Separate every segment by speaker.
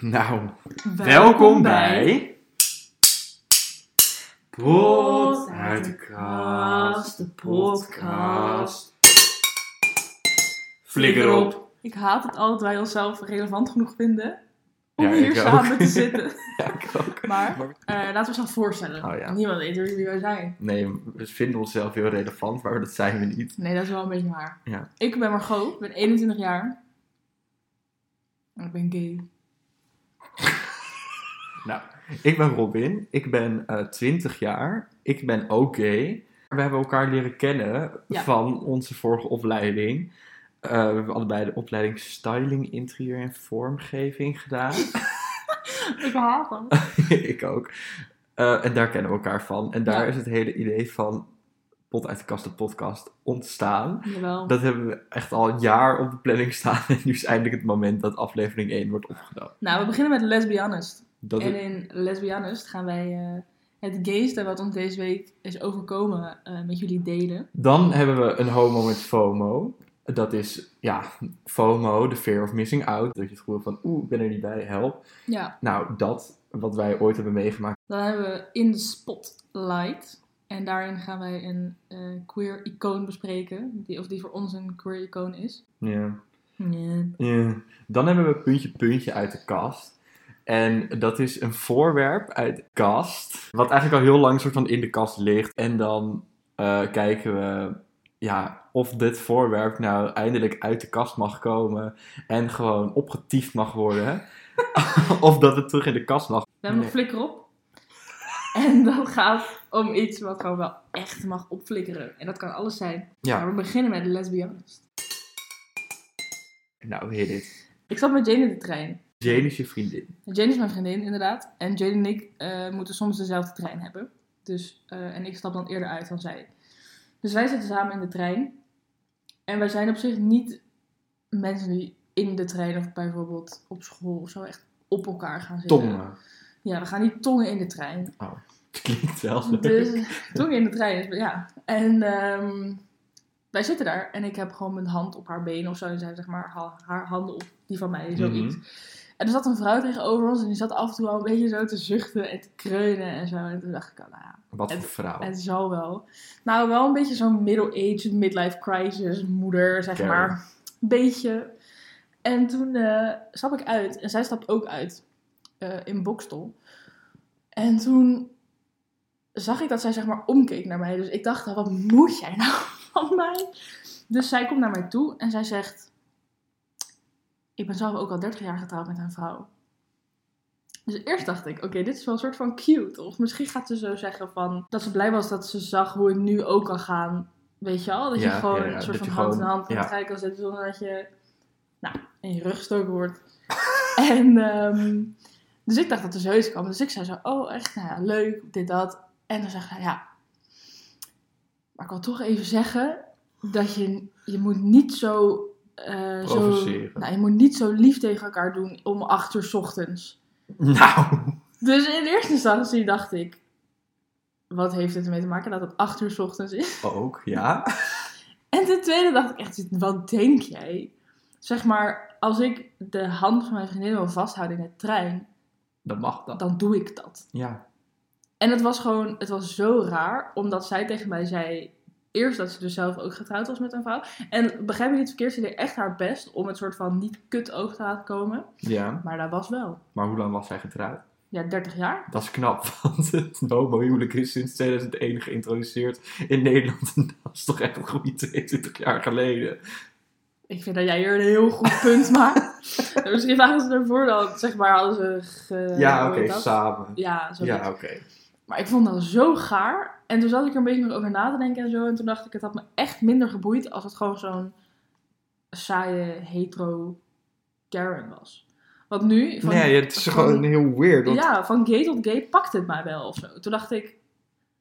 Speaker 1: Nou, welkom bij. Pot uit de kast, de podcast. Flikker op.
Speaker 2: Ik haat het altijd wij onszelf relevant genoeg vinden om
Speaker 1: Ja,
Speaker 2: hier
Speaker 1: ik
Speaker 2: samen
Speaker 1: ook.
Speaker 2: te zitten.
Speaker 1: Ja, ik ook.
Speaker 2: Maar eh, laten we onszelf voorstellen.
Speaker 1: Oh, ja.
Speaker 2: Niemand weet wie wij zijn.
Speaker 1: Nee, we vinden onszelf heel relevant, maar dat zijn we niet.
Speaker 2: Nee, dat is wel een beetje waar.
Speaker 1: Ja.
Speaker 2: Ik ben Margot, ik ben 21 jaar. En ik ben gay.
Speaker 1: Nou, ik ben Robin, ik ben eh, 20 jaar, ik ben ook gay. We hebben elkaar leren kennen
Speaker 2: Ja.
Speaker 1: van onze vorige opleiding. Eh, we hebben allebei de opleiding Styling, Interieur en Vormgeving gedaan.
Speaker 2: Ik haat hem.
Speaker 1: ik ook. Eh, en daar kennen we elkaar van. En daar
Speaker 2: Ja.
Speaker 1: is het hele idee van Pot uit de Kast, de podcast ontstaan.
Speaker 2: Jawel.
Speaker 1: Dat hebben we echt al een jaar op de planning staan. En nu is eindelijk het moment dat aflevering 1 wordt opgenomen.
Speaker 2: Nou, we beginnen met Lesbianist.
Speaker 1: Dat
Speaker 2: En
Speaker 1: is...
Speaker 2: in Lesbianist gaan wij eh, het gayste wat ons deze week is overkomen eh, met jullie delen.
Speaker 1: Dan hebben we een homo met FOMO. Dat is, ja, FOMO, de fear of missing out. Dat je het gevoel van, oeh, ik ben er niet bij, help.
Speaker 2: Ja,
Speaker 1: Nou, dat wat wij ooit hebben meegemaakt.
Speaker 2: Dan hebben we In the Spotlight. En daarin gaan wij een eh, queer icoon bespreken. Die, of die voor ons een queer icoon is.
Speaker 1: Ja. Ja. Dan hebben we puntje puntje uit de kast. En dat is een voorwerp uit de kast. Wat eigenlijk al heel lang soort van in de kast ligt. En dan eh, kijken we ja, of dit voorwerp nou eindelijk uit de kast mag komen. En gewoon opgetiefd mag worden. of dat het terug in de kast mag.
Speaker 2: We hebben
Speaker 1: Nee.
Speaker 2: een flikker op. En dat gaat om iets wat gewoon wel echt mag opflikkeren. En dat kan alles zijn.
Speaker 1: Ja.
Speaker 2: Maar we beginnen met lesbianist.
Speaker 1: Nou, hit it.
Speaker 2: Ik zat met Jane in de trein.
Speaker 1: Jane is je vriendin.
Speaker 2: Jane is mijn vriendin, inderdaad. En Jane en ik eh, moeten soms dezelfde trein hebben. Dus, eh, en ik stap dan eerder uit dan zij. Dus wij zitten samen in de trein. En wij zijn op zich niet mensen die in de trein of bijvoorbeeld op school of zo echt op elkaar gaan zitten.
Speaker 1: Tongen.
Speaker 2: Ja, we gaan niet tongen in de trein.
Speaker 1: Het klinkt wel leuk.
Speaker 2: Dus tongen in de trein, is- ja. En ehm, wij zitten daar en ik heb gewoon mijn hand op haar been of zo. En zij heeft zeg maar ha- haar handen op die van mij, zoiets.
Speaker 1: Mhm.
Speaker 2: En er zat een vrouw tegenover ons en die zat af en toe al een beetje zo te zuchten en te kreunen en zo. En toen dacht ik, al, nou ja,
Speaker 1: Wat voor
Speaker 2: Het-
Speaker 1: vrouw.
Speaker 2: het zal wel. Nou, wel een beetje zo'n middle-aged midlife crisis moeder, zeg
Speaker 1: Karen.
Speaker 2: maar. Een beetje. En toen eh, stap ik uit en zij stapt ook uit eh, in Bokstel. En toen zag ik dat zij zeg maar omkeek naar mij. Dus ik dacht, al, wat moet jij nou van mij? Dus zij komt naar mij toe en zij zegt... Ik ben zelf ook al 30 jaar getrouwd met een vrouw. Dus eerst dacht ik, oké, dit is wel een soort van cute. Of misschien gaat ze zo zeggen van... Dat ze blij was dat ze zag hoe het nu ook kan gaan. Weet je al? Dat je
Speaker 1: Ja,
Speaker 2: gewoon
Speaker 1: ja, ja,
Speaker 2: een
Speaker 1: dat
Speaker 2: soort van
Speaker 1: je
Speaker 2: hand in
Speaker 1: gewoon-
Speaker 2: hand aan
Speaker 1: ja.
Speaker 2: het kan zetten. Zonder dat je nou, in je rug gestoken wordt. en ehm, dus ik dacht dat er zoiets kwam. Dus ik zei zo, oh echt, nou ja, leuk, dit, dat. En dan zegt hij, ja, maar ik wil toch even zeggen dat je, je moet niet zo... eh, zo
Speaker 1: Provoceren.
Speaker 2: nou, je moet niet zo lief tegen elkaar doen om acht uur 's ochtends.
Speaker 1: Nou.
Speaker 2: Dus in eerste instantie dacht ik, wat heeft dit ermee te maken dat het acht uur 's ochtends is?
Speaker 1: Ook, ja.
Speaker 2: En ten tweede dacht ik echt, wat denk jij? Zeg maar, als ik de hand van mijn vriendin wil vasthouden in de trein,
Speaker 1: Dat mag dan.
Speaker 2: dan doe ik dat.
Speaker 1: Ja.
Speaker 2: En het was gewoon, het was zo raar, omdat zij tegen mij zei, eerst dat ze dus zelf ook getrouwd was met een vrouw. En begrijp ik niet verkeerd, ze deed echt haar best om het soort van niet kut oog te laten komen.
Speaker 1: Ja.
Speaker 2: Maar dat was wel.
Speaker 1: Maar hoe lang was zij getrouwd?
Speaker 2: Ja, 30 jaar.
Speaker 1: Dat is knap, want het homohuwelijk is sinds 2001 geïntroduceerd in Nederland. En dat is toch echt een goede 22 jaar geleden.
Speaker 2: Ik vind dat jij hier een heel goed punt maakt. En Misschien waren ze ervoor dan, zeg maar, hadden ze... ge-
Speaker 1: ja,
Speaker 2: Eh, hoe
Speaker 1: oké,
Speaker 2: heet dat?
Speaker 1: samen.
Speaker 2: Ja, zo
Speaker 1: Ja, oké.
Speaker 2: Maar ik vond dat zo gaar. En toen zat ik er een beetje meer over na te denken en zo. En toen dacht ik, het had me echt minder geboeid als het gewoon zo'n saaie hetero Karen was. Want nu... Van,
Speaker 1: Nee, het is gewoon heel weird. want-
Speaker 2: Ja, van gay tot gay pakt het mij wel of zo. Toen dacht ik,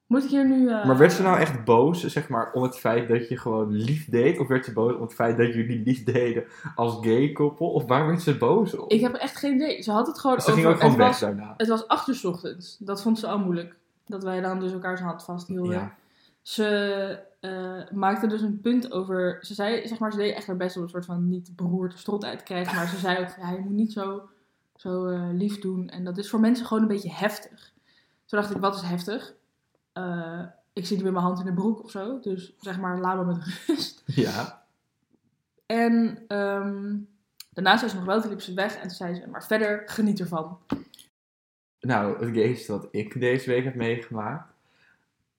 Speaker 2: moet ik hier nu... eh,
Speaker 1: Maar werd ze nou echt boos, zeg maar, om het feit dat je gewoon lief deed? Of werd ze boos om het feit dat jullie lief deden als gay koppel? Of waar werd ze boos op?
Speaker 2: Ik heb echt geen idee. Ze had het gewoon
Speaker 1: ze ging
Speaker 2: over...
Speaker 1: ook gewoon
Speaker 2: het,
Speaker 1: weg
Speaker 2: was,
Speaker 1: daarna.
Speaker 2: het was acht uur 's ochtends. Dat vond ze al moeilijk. Dat wij dan dus elkaars hand vasthielden.
Speaker 1: Ja.
Speaker 2: Ze eh, maakte dus een punt over. Ze zei, zeg maar, ze deed echt haar best om een soort van niet beroerd strot uit te krijgen. Maar ze zei ook, ja, je moet niet zo zo eh, lief doen. En dat is voor mensen gewoon een beetje heftig. Toen dacht ik, wat is heftig? Eh, ik zit niet met mijn hand in de broek of zo. Dus zeg maar, laat me met rust.
Speaker 1: Ja.
Speaker 2: En ehm, daarna zei ze nog wel, toen liep ze weg. En toen zei ze, maar verder, geniet ervan.
Speaker 1: Nou, het geest wat ik deze week heb meegemaakt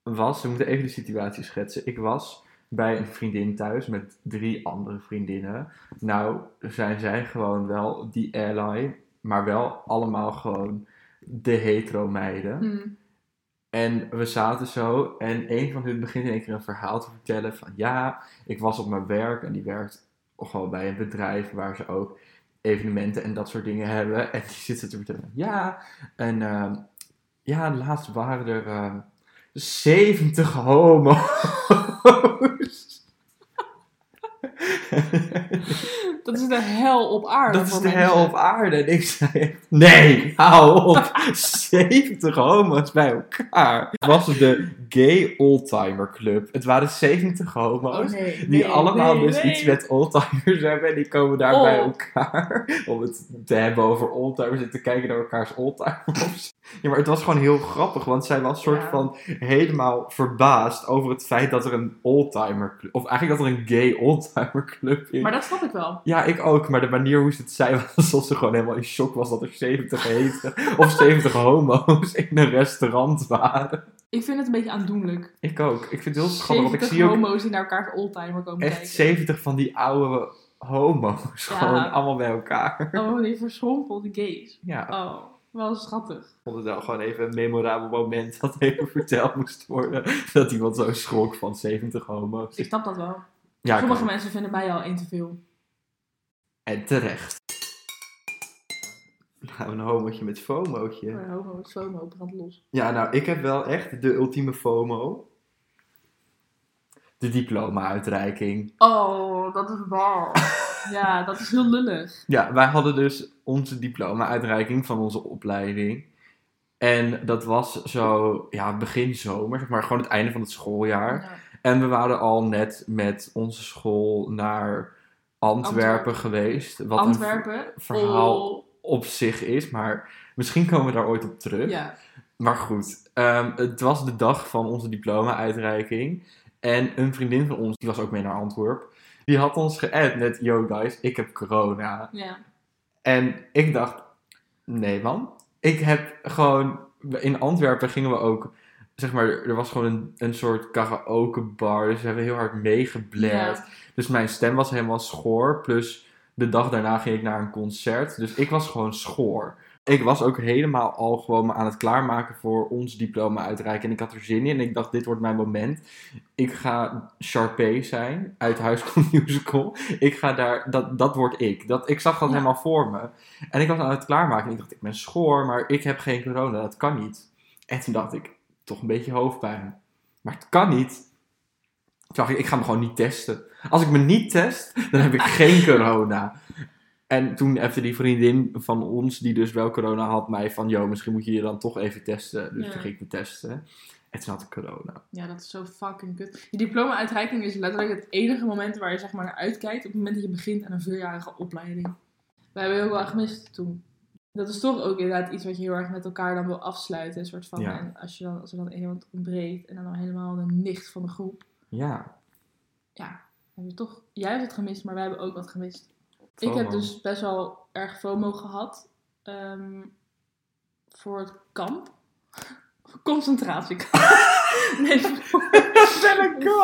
Speaker 1: was, we moeten even de situatie schetsen. Ik was bij een vriendin thuis met drie andere vriendinnen. Nou, zijn zij gewoon wel die ally, maar wel allemaal gewoon de hetero meiden.
Speaker 2: Mm.
Speaker 1: En we zaten zo en een van hun begint in één keer een verhaal te vertellen van ja, ik was op mijn werk en die werkt gewoon bij een bedrijf waar ze ook evenementen en dat soort dingen hebben. En die zit zo te vertellen ja, en ehm, ja, laatst waren er ehm, 70 homo's.
Speaker 2: Dat is de hel op aarde.
Speaker 1: Dat is
Speaker 2: voor
Speaker 1: de
Speaker 2: mensen.
Speaker 1: hel op aarde. En ik zei echt, nee, hou op. 70 homo's bij elkaar. Het was dus de Gay Oldtimer Club. Het waren 70 homo's.
Speaker 2: Oh, nee,
Speaker 1: Die
Speaker 2: nee,
Speaker 1: allemaal
Speaker 2: nee,
Speaker 1: dus
Speaker 2: nee.
Speaker 1: iets met oldtimers hebben en die komen daar
Speaker 2: Oh.
Speaker 1: bij elkaar om het te hebben over oldtimers en te kijken naar elkaars oldtimers. Ja, maar het was gewoon heel grappig, want zij was soort
Speaker 2: Ja.
Speaker 1: van helemaal verbaasd over het feit dat er een oldtimer club, of eigenlijk dat er een gay oldtimer club is.
Speaker 2: Maar dat snap ik wel.
Speaker 1: Ja, ik ook, maar de manier hoe ze het zei was alsof ze gewoon helemaal in shock was dat er 70 heten of 70 homo's in een restaurant waren.
Speaker 2: Ik vind het een beetje aandoenlijk.
Speaker 1: Ik ook. Ik vind het heel schattig, want ik
Speaker 2: 70
Speaker 1: zie ook
Speaker 2: homo's die naar elkaars oldtimer komen
Speaker 1: echt
Speaker 2: kijken.
Speaker 1: 70 van die oude homo's.
Speaker 2: Ja.
Speaker 1: Gewoon allemaal bij elkaar.
Speaker 2: Oh, die verschrompelde gays.
Speaker 1: Ja, ik
Speaker 2: Oh, wel schattig.
Speaker 1: vond het wel gewoon even een memorabel moment dat even verteld moest worden. Dat iemand zo schrok van 70 homo's.
Speaker 2: Ik snap dat wel.
Speaker 1: Ja,
Speaker 2: Sommige
Speaker 1: kan.
Speaker 2: mensen vinden mij al één te veel.
Speaker 1: en terecht. Nou, een homootje met fomootje.
Speaker 2: Maar homo, slomo, Eh, brand los.
Speaker 1: Ja, nou, ik heb wel echt de ultieme FOMO. De diploma-uitreiking.
Speaker 2: Oh, dat is waar. ja, dat is heel lullig.
Speaker 1: Ja, wij hadden dus onze diploma-uitreiking van onze opleiding. En dat was zo, ja, begin zomer, zeg maar gewoon het einde van het schooljaar.
Speaker 2: Ja.
Speaker 1: En we waren al net met onze school naar Antwerpen,
Speaker 2: Antwerpen.
Speaker 1: geweest. Wat
Speaker 2: Antwerpen.
Speaker 1: verhaal.
Speaker 2: Oh,
Speaker 1: een v- op zich is, maar misschien komen we daar ooit op terug.
Speaker 2: ja.
Speaker 1: Maar goed, ehm, het was de dag van onze diploma-uitreiking. En een vriendin van ons, die was ook mee naar Antwerp, die had ons geappt met: Yo guys, ik heb corona.
Speaker 2: ja.
Speaker 1: En ik dacht: Nee man, ik heb gewoon. In Antwerpen gingen we ook. Zeg maar, er was gewoon een, een soort karaoke bar. Dus we hebben heel hard meegeblerd.
Speaker 2: Ja.
Speaker 1: Dus mijn stem was helemaal schoor. Plus de dag daarna ging ik naar een concert. Dus ik was gewoon schoor. Ik was ook helemaal al gewoon me aan het klaarmaken voor ons diploma uitreiken. En ik had er zin in. En ik dacht, dit wordt mijn moment. Ik ga Sharpay zijn uit High School Musical. Ik ga daar, dat, dat word ik. Dat, ik zag dat
Speaker 2: Ja.
Speaker 1: helemaal voor me. En ik was aan het klaarmaken. En ik dacht, ik ben schoor, maar ik heb geen corona. Dat kan niet. En toen dacht ik, toch een beetje hoofdpijn. Maar het kan niet. Toen dacht ik, ik ga me gewoon niet testen. Als ik me niet test, dan heb ik geen corona. En toen even die vriendin van ons, die dus wel corona had, mij van... ...joh, misschien moet je je dan toch even testen. Dus
Speaker 2: Ja.
Speaker 1: toen ging ik me testen. En toen had ik corona.
Speaker 2: ja, dat is zo fucking kut. Je diploma-uitreiking is letterlijk het enige moment waar je zeg maar, naar uitkijkt. Op het moment dat je begint aan een vierjarige opleiding. Wij hebben heel wel gemist toen. Dat is toch ook inderdaad iets wat je heel erg met elkaar dan wil afsluiten. Een soort van.
Speaker 1: Ja.
Speaker 2: En als, je dan, als er dan iemand ontbreekt en dan al helemaal de nicht van de groep.
Speaker 1: Ja,
Speaker 2: Dan heb je toch, jij hebt het gemist, maar wij hebben ook wat gemist. Ik
Speaker 1: FOMO.
Speaker 2: heb dus best wel erg FOMO gehad ehm, voor het kamp. Concentratiekamp. nee, voor,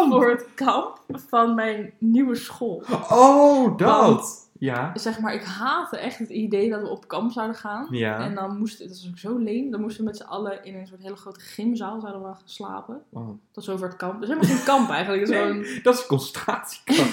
Speaker 2: voor het kamp van mijn nieuwe school.
Speaker 1: Oh, dat!
Speaker 2: Want-
Speaker 1: Ja.
Speaker 2: Zeg maar, ik haatte echt het idee dat we op kamp zouden gaan.
Speaker 1: Ja.
Speaker 2: En dan moesten, dat was ook zo leem, dan moesten we met z'n allen in een soort hele grote gymzaal zouden we gaan slapen.
Speaker 1: Oh.
Speaker 2: Tot zover het kamp. Dus helemaal geen kamp eigenlijk. Het is gewoon
Speaker 1: Dat is concentratiekamp.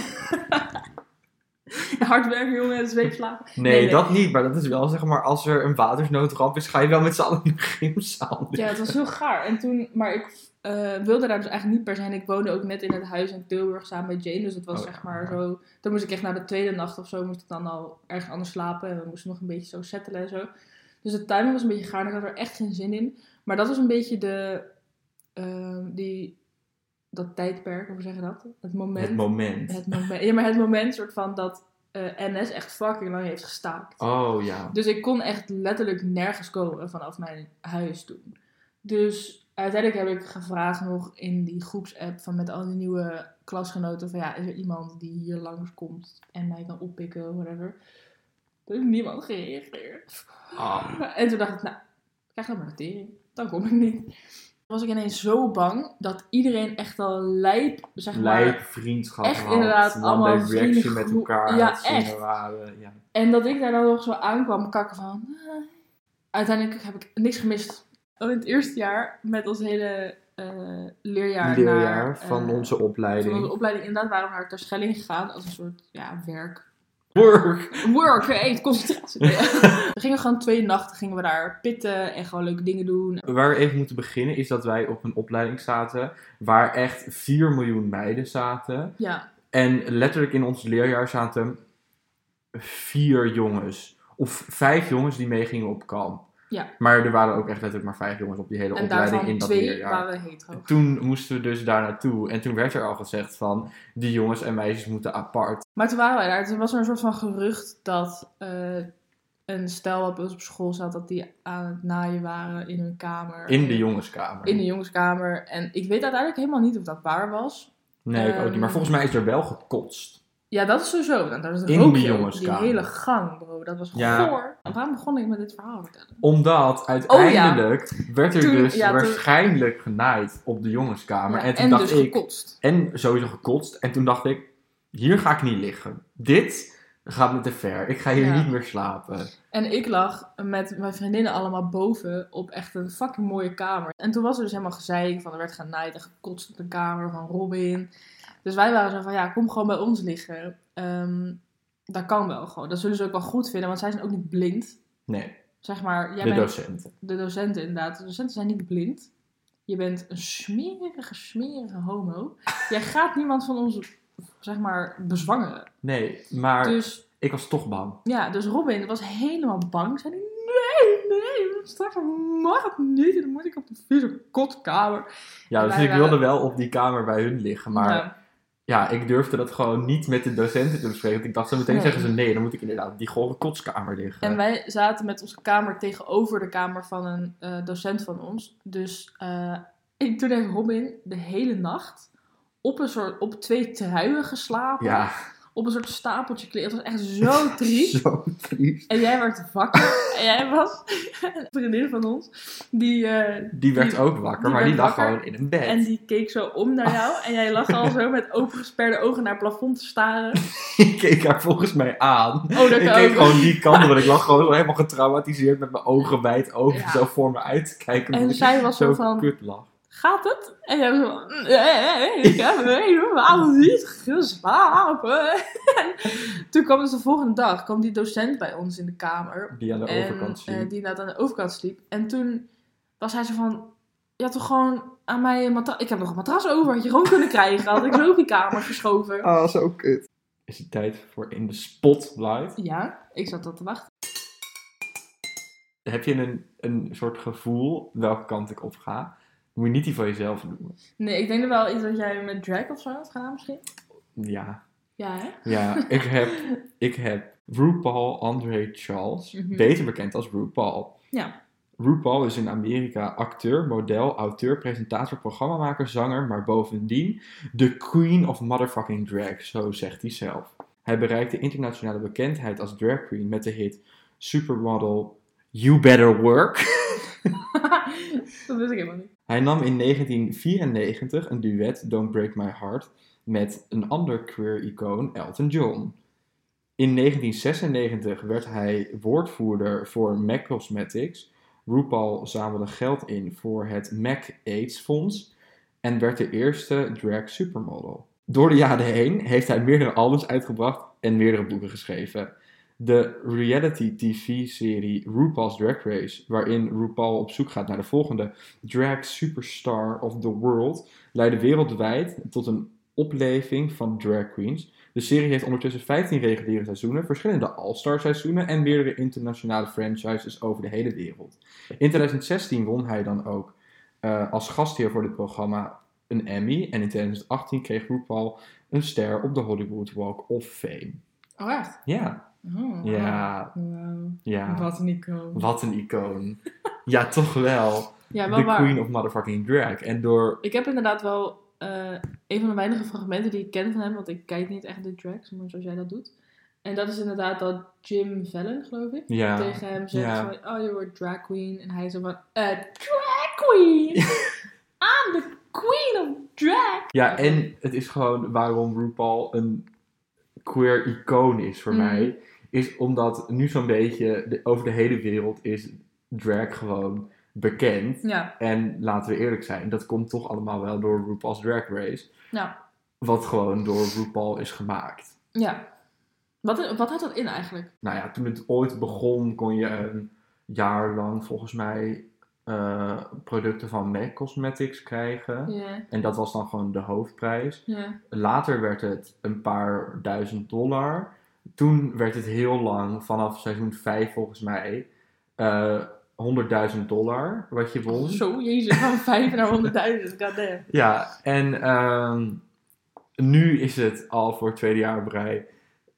Speaker 2: hard werken, jongen, en zweep slapen.
Speaker 1: Nee,
Speaker 2: nee.
Speaker 1: dat niet. Maar dat is wel, zeg maar, als er een watersnoodramp is... ...ga je wel met z'n allen in de gymzaal.
Speaker 2: Ja, het was heel gaar. En toen, maar ik eh, wilde daar dus eigenlijk niet per se. En ik woonde ook net in het huis in Tilburg samen met Jane. Dus dat was
Speaker 1: Oh ja,
Speaker 2: zeg maar
Speaker 1: ja.
Speaker 2: zo. Toen moest ik echt na de tweede nacht of zo, moest ik dan al ergens anders slapen. En we moesten nog een beetje zo settelen en zo. Dus de timing was een beetje gaar. En ik had er echt geen zin in. Maar dat was een beetje de. ehm, die, dat tijdperk, hoe zeg je dat? Het moment.
Speaker 1: Het moment.
Speaker 2: Het moment. Ja, maar het moment soort van dat eh, NS echt fucking lang heeft gestaakt.
Speaker 1: Oh ja.
Speaker 2: Dus ik kon echt letterlijk nergens komen vanaf mijn huis toen. Dus uiteindelijk heb ik gevraagd nog in die groepsapp van met al die nieuwe klasgenoten van ja, is er iemand die hier langskomt en mij kan oppikken, whatever. Er is niemand gereageerd.
Speaker 1: Ah.
Speaker 2: En toen dacht ik, nou, ik krijg dan maar een tering. Dan kom ik niet. Toen was ik ineens zo bang dat iedereen echt al lijp, zeg maar,
Speaker 1: Lijp, vriendschap
Speaker 2: echt
Speaker 1: had.
Speaker 2: inderdaad
Speaker 1: one-day
Speaker 2: allemaal
Speaker 1: reaction
Speaker 2: vrienden
Speaker 1: met
Speaker 2: groe-
Speaker 1: elkaar.
Speaker 2: Ja,
Speaker 1: dat ze er
Speaker 2: echt.
Speaker 1: waren, ja.
Speaker 2: En dat ik daar dan nog zo aankwam kakken van... "Ah." Uiteindelijk heb ik niks gemist. Al in het eerste jaar met ons hele eh, leerjaar.
Speaker 1: Leerjaar
Speaker 2: naar, eh,
Speaker 1: van onze
Speaker 2: van
Speaker 1: opleiding.
Speaker 2: onze opleiding. Inderdaad waren we naar Terschelling gegaan als een soort ja, werk.
Speaker 1: Work.
Speaker 2: Work, hey, concentratie. we gingen gewoon twee nachten gingen we daar pitten en gewoon leuke dingen doen.
Speaker 1: Waar we even moeten beginnen is dat wij op een opleiding zaten waar echt 4 miljoen meiden zaten.
Speaker 2: Ja,
Speaker 1: En letterlijk in ons leerjaar zaten vier jongens. Of vijf jongens die meegingen op kamp.
Speaker 2: Ja.
Speaker 1: Maar er waren ook echt letterlijk maar vijf jongens op die hele
Speaker 2: en
Speaker 1: opleiding
Speaker 2: daarvan
Speaker 1: in dat
Speaker 2: twee
Speaker 1: leerjaar.
Speaker 2: waren hetero.
Speaker 1: Toen moesten we dus daar naartoe. En toen werd er al gezegd van, die jongens en meisjes moeten apart.
Speaker 2: Maar toen waren wij daar. Toen was er een soort van gerucht dat eh, een stel wat bij ons op school zat, dat die aan het naaien waren in hun kamer.
Speaker 1: In de jongenskamer.
Speaker 2: In de jongenskamer. En ik weet uiteindelijk helemaal niet of dat waar was.
Speaker 1: nee, ik ook niet. Maar
Speaker 2: Ehm.
Speaker 1: volgens mij is er wel gekotst.
Speaker 2: Ja, dat is sowieso. Want dat is
Speaker 1: In de
Speaker 2: rookje op
Speaker 1: jongenskamer.
Speaker 2: Die hele gang, bro. Dat was
Speaker 1: Ja.
Speaker 2: goor. En waarom begon ik met dit verhaal vertellen?
Speaker 1: Omdat uiteindelijk werd er
Speaker 2: Oh Toen-
Speaker 1: dus
Speaker 2: ja, toen-
Speaker 1: waarschijnlijk genaaid op de jongenskamer.
Speaker 2: Ja,
Speaker 1: en toen dacht
Speaker 2: dus
Speaker 1: ik,
Speaker 2: gekotst.
Speaker 1: En sowieso gekotst. En toen dacht ik, hier ga ik niet liggen. Dit gaat me te ver. Ik ga hier
Speaker 2: Ja.
Speaker 1: niet meer slapen.
Speaker 2: En ik lag met mijn vriendinnen allemaal boven op echt een fucking mooie kamer. En toen was er dus helemaal gezeik van er werd genaaid en gekotst op de kamer van Robin. Dus wij waren zo van ja, kom gewoon bij ons liggen. Ehm, dat kan wel gewoon. Dat zullen ze ook wel goed vinden, want zij zijn ook niet blind.
Speaker 1: Nee,
Speaker 2: Zeg maar, jij
Speaker 1: de
Speaker 2: bent
Speaker 1: docenten.
Speaker 2: de docenten inderdaad. De docenten zijn niet blind. Je bent een smerige, smerige homo. Jij gaat niemand van ons, zeg maar, bezwangeren.
Speaker 1: Nee, maar
Speaker 2: Dus
Speaker 1: ik was toch bang.
Speaker 2: ja, dus Robin was helemaal bang. Zei die, nee, nee, straks mag het niet. En dan moet ik op de vieze kotkamer.
Speaker 1: Ja,
Speaker 2: En
Speaker 1: dus
Speaker 2: wij
Speaker 1: ik wilde
Speaker 2: waren-
Speaker 1: wel op die kamer bij hun liggen. Maar ja.
Speaker 2: Nou,
Speaker 1: ik durfde dat gewoon niet met de docenten te bespreken. Want ik dacht, zo meteen
Speaker 2: Nee.
Speaker 1: zeggen ze nee. Dan moet ik inderdaad op die gore kotskamer liggen.
Speaker 2: en wij zaten met onze kamer tegenover de kamer van een eh, docent van ons. Dus eh, ik, toen heeft Robin de hele nacht op, een soort, op twee truien geslapen.
Speaker 1: Ja,
Speaker 2: Op een soort stapeltje kleren. Het was echt zo triest.
Speaker 1: zo triest.
Speaker 2: En jij werd wakker. en jij was een vriendin van ons. Die, eh,
Speaker 1: Die werd
Speaker 2: Die-
Speaker 1: ook wakker,
Speaker 2: die
Speaker 1: maar die
Speaker 2: werd
Speaker 1: lag
Speaker 2: wakker.
Speaker 1: gewoon in een bed.
Speaker 2: en die keek zo om naar jou. En jij lag al zo met opengesperde ogen naar het plafond te staren.
Speaker 1: Ik keek haar volgens mij aan.
Speaker 2: Oh, dat
Speaker 1: Ik
Speaker 2: kan
Speaker 1: keek
Speaker 2: ook.
Speaker 1: gewoon die kant op, want ik lag gewoon zo helemaal getraumatiseerd met mijn ogen wijd open
Speaker 2: Ja.
Speaker 1: zo voor me uit te kijken.
Speaker 2: En
Speaker 1: omdat
Speaker 2: zij
Speaker 1: ik
Speaker 2: was zo van-
Speaker 1: kut lag.
Speaker 2: Gaat het? En jij was zo van... Nee, ik heb helemaal niet geslapen. En toen kwam dus de volgende dag. kwam die docent bij ons in de kamer.
Speaker 1: Die aan de
Speaker 2: en,
Speaker 1: overkant zien.
Speaker 2: eh, die inderdaad aan de overkant sliep. En toen was hij zo van... Je had toch gewoon aan mij een matras... Ik heb nog een matras over. Had je gewoon kunnen krijgen. Had ik zo op die kamer geschoven.
Speaker 1: Ah, zo kut. Is het tijd voor in de spotlight?
Speaker 2: Ja, ik zat dat te wachten.
Speaker 1: Heb je een, een soort gevoel welke kant ik op ga? Moet je niet die van jezelf doen.
Speaker 2: Nee, ik denk er wel iets dat jij met drag of zo had gedaan misschien.
Speaker 1: Ja,
Speaker 2: Ja, hè?
Speaker 1: ja ik, heb, ik heb RuPaul André Charles,
Speaker 2: Mhm.
Speaker 1: beter bekend als RuPaul.
Speaker 2: Ja.
Speaker 1: RuPaul is in Amerika acteur, model, auteur, presentator, programmamaker, zanger, maar bovendien de queen of motherfucking drag, zo zegt hij zelf. Hij bereikte internationale bekendheid als drag queen met de hit supermodel You Better Work.
Speaker 2: dat wist ik helemaal niet.
Speaker 1: Hij nam in 1994 een duet Don't Break My Heart met een ander queer-icoon Elton John. In 1996 werd hij woordvoerder voor MAC Cosmetics. RuPaul zamelde geld in voor het MAC AIDS Fonds en werd de eerste drag supermodel. Door de jaren heen heeft hij meerdere albums uitgebracht en meerdere boeken geschreven. De reality TV-serie RuPaul's Drag Race, waarin RuPaul op zoek gaat naar de volgende drag superstar of the world, leidde wereldwijd tot een opleving van drag queens. De serie heeft ondertussen 15 reguliere seizoenen, verschillende all-star seizoenen en meerdere internationale franchises over de hele wereld. In 2016 won hij dan ook eh, als gastheer voor dit programma een Emmy en in 2018 kreeg RuPaul een ster op de Hollywood Walk of Fame.
Speaker 2: Oh, echt?
Speaker 1: Ja.
Speaker 2: Oh,
Speaker 1: Ja.
Speaker 2: Wauw.
Speaker 1: Ja.
Speaker 2: Wat een icoon.
Speaker 1: Wat een icoon. ja, toch wel.
Speaker 2: Ja, wel
Speaker 1: De
Speaker 2: waar.
Speaker 1: queen of motherfucking drag. En door...
Speaker 2: Ik heb inderdaad wel eh, een van de weinige fragmenten die ik ken van hem, want ik kijk niet echt de tracks, maar zoals jij dat doet. En dat is inderdaad dat Jim Fallon, geloof ik,
Speaker 1: Ja.
Speaker 2: tegen hem zegt
Speaker 1: Ja.
Speaker 2: van, oh, je wordt drag queen. En hij zo van, eh, drag queen! I'm the queen of drag!
Speaker 1: Ja, en het is gewoon waarom RuPaul een queer icoon is voor
Speaker 2: Mhm.
Speaker 1: mij. Is omdat nu zo'n beetje de- over de hele wereld is drag gewoon bekend.
Speaker 2: Ja,
Speaker 1: En laten we eerlijk zijn, dat komt toch allemaal wel door RuPaul's Drag Race.
Speaker 2: ja,
Speaker 1: Wat gewoon door RuPaul is gemaakt.
Speaker 2: ja. Wat, wat houdt dat in eigenlijk?
Speaker 1: Nou ja, toen het ooit begon kon je een jaar lang volgens mij eh, producten van MAC Cosmetics krijgen.
Speaker 2: Ja,
Speaker 1: En dat was dan gewoon de hoofdprijs.
Speaker 2: ja,
Speaker 1: Later werd het een paar duizend dollar. Toen werd het heel lang, vanaf seizoen 5 volgens mij, eh 100.000 dollar wat je won.
Speaker 2: Zo, jezus, van 5 naar 100.000, goddamn.
Speaker 1: Ja, en ehm, nu is het al voor het tweede jaar op rij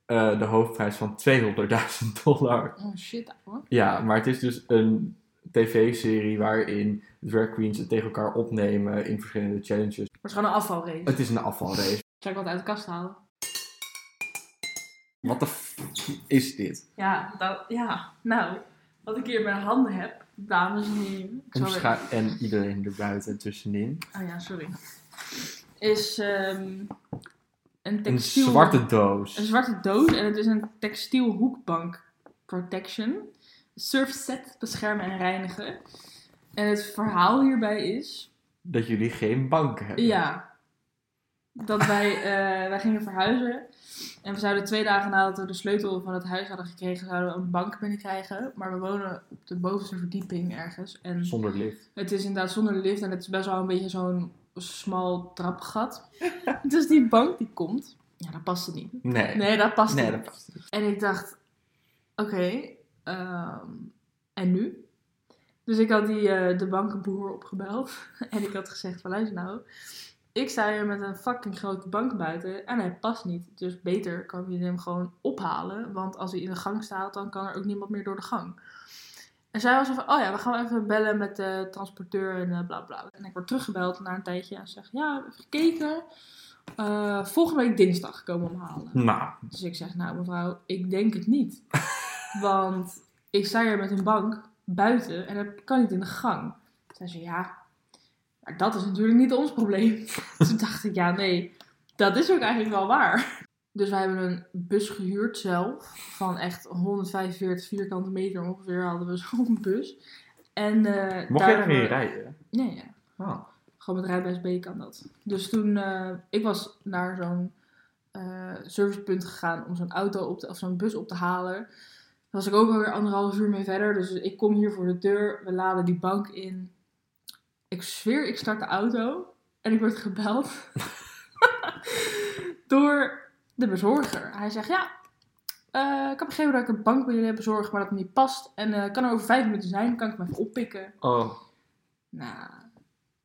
Speaker 1: eh, de hoofdprijs van 200.000 dollar.
Speaker 2: Oh shit, hoor.
Speaker 1: Ja, maar het is dus een tv-serie waarin drag queens het tegen elkaar opnemen in verschillende challenges.
Speaker 2: Maar het is gewoon een afvalrace.
Speaker 1: Het is een afvalrace.
Speaker 2: Zou ik wat uit de kast halen?
Speaker 1: Wat de f- is dit?
Speaker 2: Ja, dat, ja, nou, wat ik hier in mijn handen heb, dames en heren.
Speaker 1: En,
Speaker 2: Sorry.
Speaker 1: scha- en iedereen erbuiten en tussenin.
Speaker 2: Oh ja, sorry. Is ehm, een
Speaker 1: Een
Speaker 2: textiel...
Speaker 1: zwarte
Speaker 2: Een
Speaker 1: doos.
Speaker 2: zwarte doos en het is een textiel hoekbank protection. Surfset beschermen en reinigen. En het verhaal hierbij is...
Speaker 1: Dat jullie geen bank hebben.
Speaker 2: Ja. Dat wij, eh, wij gingen verhuizen. En we zouden twee dagen nadat we de sleutel van het huis hadden gekregen, zouden we een bank binnenkrijgen. Maar we wonen op de bovenste verdieping ergens. En
Speaker 1: Zonder lift.
Speaker 2: het is inderdaad zonder lift en het is best wel een beetje zo'n smal trapgat. dus die bank die komt. Ja, dat paste niet.
Speaker 1: Nee.
Speaker 2: Nee, dat paste
Speaker 1: Nee,
Speaker 2: niet.
Speaker 1: dat past niet.
Speaker 2: En ik dacht, oké, ehm, en nu? Dus ik had die, eh, de bankenboer opgebeld. En ik had gezegd van, luister nou, ik sta hier met een fucking grote bank buiten. En hij past niet. Dus beter kan je hem gewoon ophalen. Want als hij in de gang staat, dan kan er ook niemand meer door de gang. En zij was zo van, oh ja, we gaan even bellen met de transporteur en eh, bla bla. En ik word teruggebeld na een tijdje. En ze zegt, ja, we hebben gekeken. Eh, volgende week dinsdag komen we hem halen.
Speaker 1: Nou,
Speaker 2: Dus ik zeg, nou mevrouw, ik denk het niet. Want ik sta hier met een bank buiten en dat kan niet in de gang. Toen zei ze, ja, maar dat is natuurlijk niet ons probleem. Toen dacht ik, ja nee, dat is ook eigenlijk wel waar. Dus wij hebben een bus gehuurd zelf. Van echt 145 vierkante meter ongeveer hadden we zo'n bus. En, eh
Speaker 1: mocht jij daarin
Speaker 2: daarvoor-
Speaker 1: rijden?
Speaker 2: Nee, ja.
Speaker 1: Oh.
Speaker 2: Gewoon met rijbewijs B kan dat. Dus toen, eh, ik was naar zo'n eh, servicepunt gegaan om zo'n auto op te, of zo'n bus op te halen. Daar was ik ook alweer anderhalf uur mee verder. Dus ik kom hier voor de deur, we laden die bank in. Ik zweer, ik start de auto en ik word gebeld door de bezorger. Hij zegt, ja, eh, ik heb begrepen dat ik een bank bij jullie heb bezorgd, maar dat het niet past. En eh, kan er over vijf minuten zijn, kan ik hem even oppikken.
Speaker 1: Oh.
Speaker 2: Nou,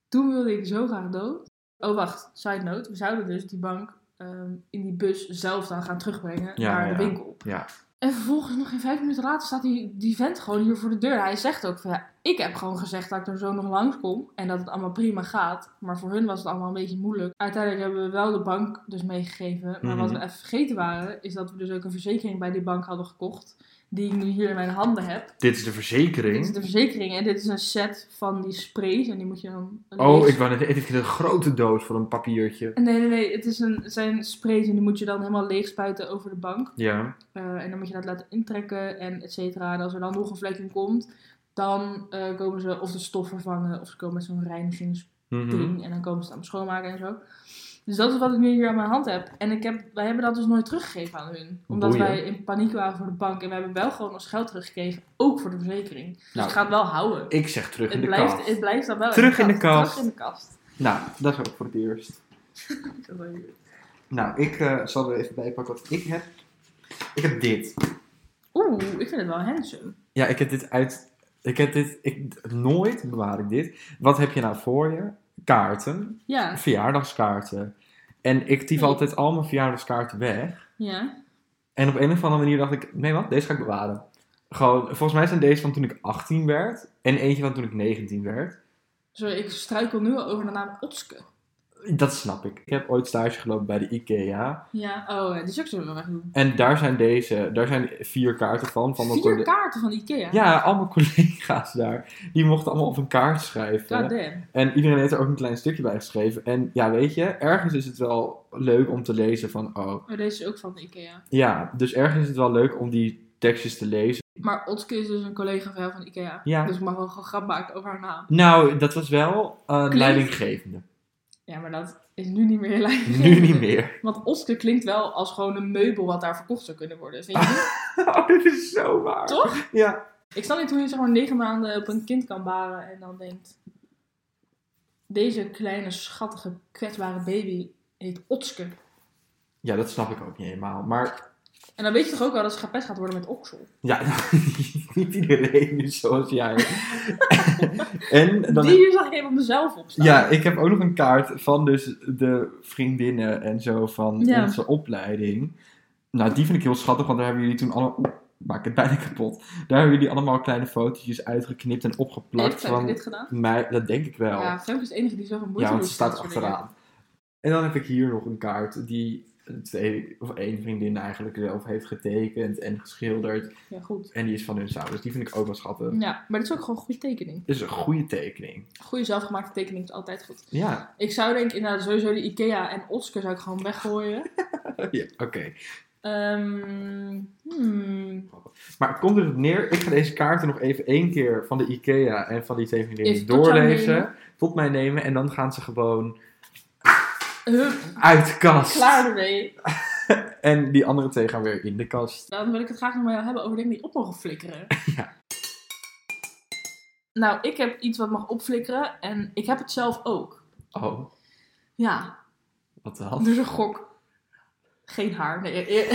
Speaker 2: toen wilde ik zo graag dood. Oh, wacht, side note. We zouden dus die bank ehm, in die bus zelf dan gaan terugbrengen
Speaker 1: Ja,
Speaker 2: naar
Speaker 1: ja.
Speaker 2: de winkel.
Speaker 1: Ja.
Speaker 2: En vervolgens, nog geen vijf minuten later, staat die, die vent gewoon hier voor de deur. Hij zegt ook van, ja, ik heb gewoon gezegd dat ik er zo nog langskom en dat het allemaal prima gaat. Maar voor hun was het allemaal een beetje moeilijk. Uiteindelijk hebben we wel de bank dus meegegeven. Maar wat we
Speaker 1: Mhm.
Speaker 2: even vergeten waren, is dat we dus ook een verzekering bij die bank hadden gekocht. Die ik nu hier in mijn handen heb.
Speaker 1: Dit is de verzekering.
Speaker 2: Dit is de verzekering en dit is een set van die sprays en die moet je dan...
Speaker 1: Oh, ik wou net dit is een grote doos van een papiertje.
Speaker 2: Nee, nee, nee. Het, is een, het zijn sprays en die moet je dan helemaal leeg spuiten over de bank.
Speaker 1: Ja.
Speaker 2: Eh, en dan moet je dat laten intrekken en et cetera. En als er dan nog een vlek in komt, dan eh, komen ze of de stof vervangen of ze komen met zo'n reinigingsding.
Speaker 1: Mhm.
Speaker 2: En dan komen ze het aan schoonmaken en zo. Dus dat is wat ik nu hier aan mijn hand heb. En ik heb, wij hebben dat dus nooit teruggegeven aan hun. Omdat
Speaker 1: Boeien.
Speaker 2: wij in paniek waren voor de bank. En we hebben wel gewoon ons geld teruggekregen. Ook voor de verzekering. Dus
Speaker 1: Nou.
Speaker 2: het gaat wel houden.
Speaker 1: Ik zeg terug in
Speaker 2: Het
Speaker 1: de
Speaker 2: blijft,
Speaker 1: kast.
Speaker 2: het blijft dan wel
Speaker 1: Terug in de kast.
Speaker 2: Terug in de kast.
Speaker 1: Nou, dat is ook voor het eerst. Nou, ik eh, zal er even bijpakken wat ik heb. Ik heb dit.
Speaker 2: Oeh, ik vind het wel handsome.
Speaker 1: Ja, ik heb dit uit... Ik heb dit... Ik, nooit bewaar ik dit. Wat heb je nou voor je? Kaarten.
Speaker 2: Ja,
Speaker 1: Verjaardagskaarten. En ik tief
Speaker 2: Nee.
Speaker 1: altijd al mijn verjaardagskaarten weg.
Speaker 2: ja.
Speaker 1: En op een of andere manier dacht ik, nee wat, deze ga ik bewaren. Gewoon, volgens mij zijn deze van toen ik 18 werd. En eentje van toen ik 19 werd.
Speaker 2: Sorry, ik struikel nu al over de naam Otske.
Speaker 1: Dat snap ik. Ik heb ooit stage gelopen bij de IKEA.
Speaker 2: Ja, oh, eh, die is ook zo weg doen.
Speaker 1: En daar zijn deze, daar zijn vier kaarten van. van mijn
Speaker 2: Vier
Speaker 1: colle-
Speaker 2: kaarten van Ikea.
Speaker 1: Ja, al mijn collega's daar. Die mochten allemaal op een kaart schrijven.
Speaker 2: God damn.
Speaker 1: En iedereen heeft er ook een klein stukje bij geschreven. En ja, weet je, ergens is het wel leuk om te lezen van, oh,
Speaker 2: Maar deze is ook van de Ikea.
Speaker 1: ja, dus ergens is het wel leuk om die tekstjes te lezen.
Speaker 2: Maar Otske is dus een collega van jou van Ikea.
Speaker 1: Ja.
Speaker 2: Dus ik mag wel gewoon grap maken over haar naam.
Speaker 1: Nou, dat was wel eh,
Speaker 2: Klinkt-
Speaker 1: leidinggevende.
Speaker 2: Ja, maar dat is nu niet meer je lijn.
Speaker 1: Nu niet meer.
Speaker 2: Want Otske klinkt wel als gewoon een meubel wat daar verkocht zou kunnen worden. Vind je niet?
Speaker 1: Oh, dit is zo waar.
Speaker 2: Toch?
Speaker 1: Ja.
Speaker 2: Ik snap niet hoe je zeg maar negen maanden op een kind kan baren en dan denkt... Deze kleine, schattige, kwetsbare baby heet Otske.
Speaker 1: Ja, dat snap ik ook niet helemaal. Maar
Speaker 2: En dan weet je toch ook wel dat ze gepest gaat worden met oksel.
Speaker 1: ja, niet iedereen is zoals jij. en dan...
Speaker 2: Die zag ik even op mezelf opstaan.
Speaker 1: Ja, ik heb ook nog een kaart van dus de vriendinnen en zo van
Speaker 2: Ja.
Speaker 1: onze opleiding. Nou, die vind ik heel schattig, want daar hebben jullie toen allemaal... Oeh, maak het bijna kapot. Daar hebben jullie allemaal kleine fotootjes uitgeknipt en opgeplakt
Speaker 2: Heeft Femke
Speaker 1: van
Speaker 2: dit gedaan?
Speaker 1: mij. Dat denk ik wel.
Speaker 2: Ja, Femke is de enige die zoveel moeite
Speaker 1: Ja, want
Speaker 2: doet
Speaker 1: ze
Speaker 2: met
Speaker 1: staat
Speaker 2: dat soort dingen.
Speaker 1: achteraan. En dan heb ik hier nog een kaart die twee of één vriendin eigenlijk zelf heeft getekend en geschilderd.
Speaker 2: Ja, goed.
Speaker 1: En die is van hun samen. Dus die vind ik ook wel schattig.
Speaker 2: Ja, maar dat is ook gewoon een goede tekening.
Speaker 1: Dit is een goede tekening.
Speaker 2: Goede zelfgemaakte tekening is altijd goed.
Speaker 1: Ja,
Speaker 2: Ik zou denk ik inderdaad sowieso de Ikea en Oscar zou ik gewoon weggooien.
Speaker 1: ja oké.
Speaker 2: Ehm hmm.
Speaker 1: Maar het komt erop neer, ik ga deze kaarten nog even één keer van de IKEA en van die twee vriendinnen
Speaker 2: Even tot jou
Speaker 1: doorlezen.
Speaker 2: nemen.
Speaker 1: Tot mij nemen en dan gaan ze gewoon
Speaker 2: Hup,
Speaker 1: uit de kast.
Speaker 2: klaar ermee.
Speaker 1: En die andere twee gaan weer in de kast.
Speaker 2: Dan wil ik het graag nog maar hebben over dingen die op mogen flikkeren.
Speaker 1: Ja.
Speaker 2: Nou, ik heb iets wat mag opflikkeren en ik heb het zelf ook.
Speaker 1: Oh,
Speaker 2: Ja,
Speaker 1: wat dan?
Speaker 2: dus een gok. Geen haar. Nee, eh,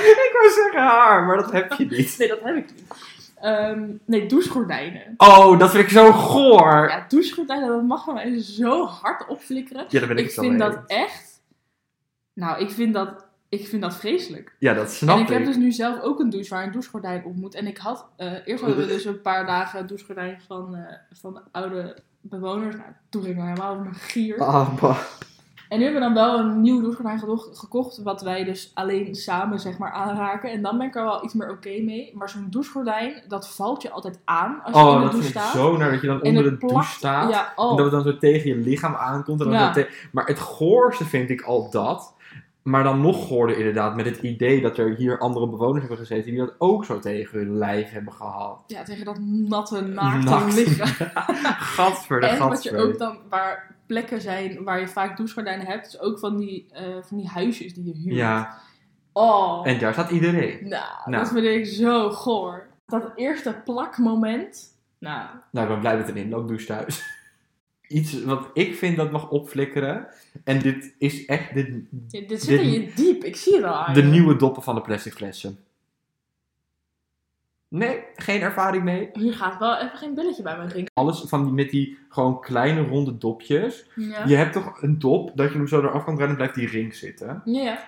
Speaker 1: ik wou zeggen haar, maar dat heb je niet.
Speaker 2: nee dat heb ik niet. Ehm, nee, douchegordijnen.
Speaker 1: Oh, dat vind ik zo goor.
Speaker 2: Ja, douchegordijnen, dat mag van mij zo hard opflikkeren.
Speaker 1: Ja, daar ben ik,
Speaker 2: ik
Speaker 1: het wel
Speaker 2: vind
Speaker 1: mee
Speaker 2: dat
Speaker 1: eens.
Speaker 2: echt. Nou, ik vind dat, ik vind dat vreselijk.
Speaker 1: Ja, dat snap
Speaker 2: en ik
Speaker 1: ik.
Speaker 2: heb dus nu zelf ook een douche waar een douchegordijn op moet. En ik had, eh, eerst hadden we dus een paar dagen een douchegordijn van, eh, van de oude bewoners. Nou, toen ging er helemaal op mijn gier.
Speaker 1: Ah, bah.
Speaker 2: En nu hebben we dan wel een nieuw douchegordijn gedo- gekocht. Wat wij dus alleen samen zeg maar aanraken. En dan ben ik er wel iets meer oké mee. Maar zo'n douchegordijn, dat valt je altijd aan als je in
Speaker 1: Oh,
Speaker 2: de
Speaker 1: dat
Speaker 2: douche
Speaker 1: vind ik
Speaker 2: dus staat.
Speaker 1: zo naar dat je dan
Speaker 2: En
Speaker 1: onder de
Speaker 2: het plakt-
Speaker 1: douche staat.
Speaker 2: Ja,
Speaker 1: En
Speaker 2: oh.
Speaker 1: dat het dan zo tegen je lichaam aankomt. En dan
Speaker 2: Ja.
Speaker 1: zo te- Maar het goorste vind ik al dat. Maar dan nog goorder inderdaad met het idee dat er hier andere bewoners hebben gezeten die dat ook zo tegen hun lijf hebben gehad.
Speaker 2: ja, tegen dat natte, naakte
Speaker 1: Naakt.
Speaker 2: lichaam.
Speaker 1: Gadver de
Speaker 2: En wat je ook
Speaker 1: gadver.
Speaker 2: dan, waar plekken zijn waar je vaak douchegordijnen hebt, is ook van die, eh, van die huisjes die je huurt.
Speaker 1: Ja,
Speaker 2: Oh,
Speaker 1: en daar staat iedereen.
Speaker 2: nou,
Speaker 1: Nou.
Speaker 2: dat vind ik zo goor. Dat eerste plakmoment, nou,
Speaker 1: Nou, ik ben blij met een inloopdouche thuis. Iets wat ik vind dat mag opflikkeren. En dit is echt de,
Speaker 2: dit, dit zit
Speaker 1: Dit-
Speaker 2: in je diep, ik zie het al aan
Speaker 1: de
Speaker 2: je.
Speaker 1: nieuwe doppen van de plastic flessen. Nee, geen ervaring mee.
Speaker 2: Hier gaat wel even geen belletje bij mijn ring.
Speaker 1: Alles van die, met die gewoon kleine ronde dopjes.
Speaker 2: Ja.
Speaker 1: Je hebt toch een dop dat je hem zo eraf kan draaien en blijft die ring zitten.
Speaker 2: Ja, ja.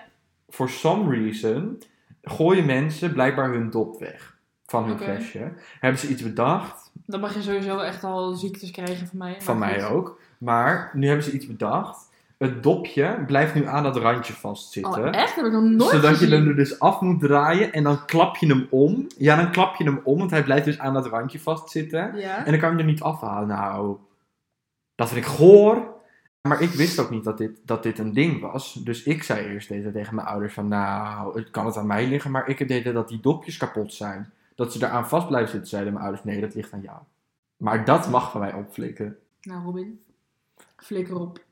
Speaker 1: For some reason gooien mensen blijkbaar hun dop weg van hun
Speaker 2: Oké.
Speaker 1: flesje. Hebben ze iets bedacht?
Speaker 2: dan mag je sowieso echt al ziektes krijgen van mij. maar
Speaker 1: van mij
Speaker 2: goed.
Speaker 1: ook. Maar nu hebben ze iets bedacht. Het dopje blijft nu aan dat randje vastzitten.
Speaker 2: Oh, echt? Heb ik nog nooit
Speaker 1: zodat je
Speaker 2: gezien.
Speaker 1: hem er dus af moet draaien en dan klap je hem om. Ja, dan klap je hem om, want hij blijft dus aan dat randje vastzitten.
Speaker 2: Ja.
Speaker 1: En dan kan je hem er niet afhalen. Nou, dat vind ik goor. Maar ik wist ook niet dat dit, dat dit een ding was. Dus ik zei eerst deze tegen mijn ouders van... Nou, het kan het aan mij liggen, maar ik heb de hele tijd dat die dopjes kapot zijn. Dat ze daaraan vast blijven zitten, zeiden mijn ouders. Nee, dat ligt aan jou. Maar dat mag van mij opflikken.
Speaker 2: Nou, Robin, flikker op.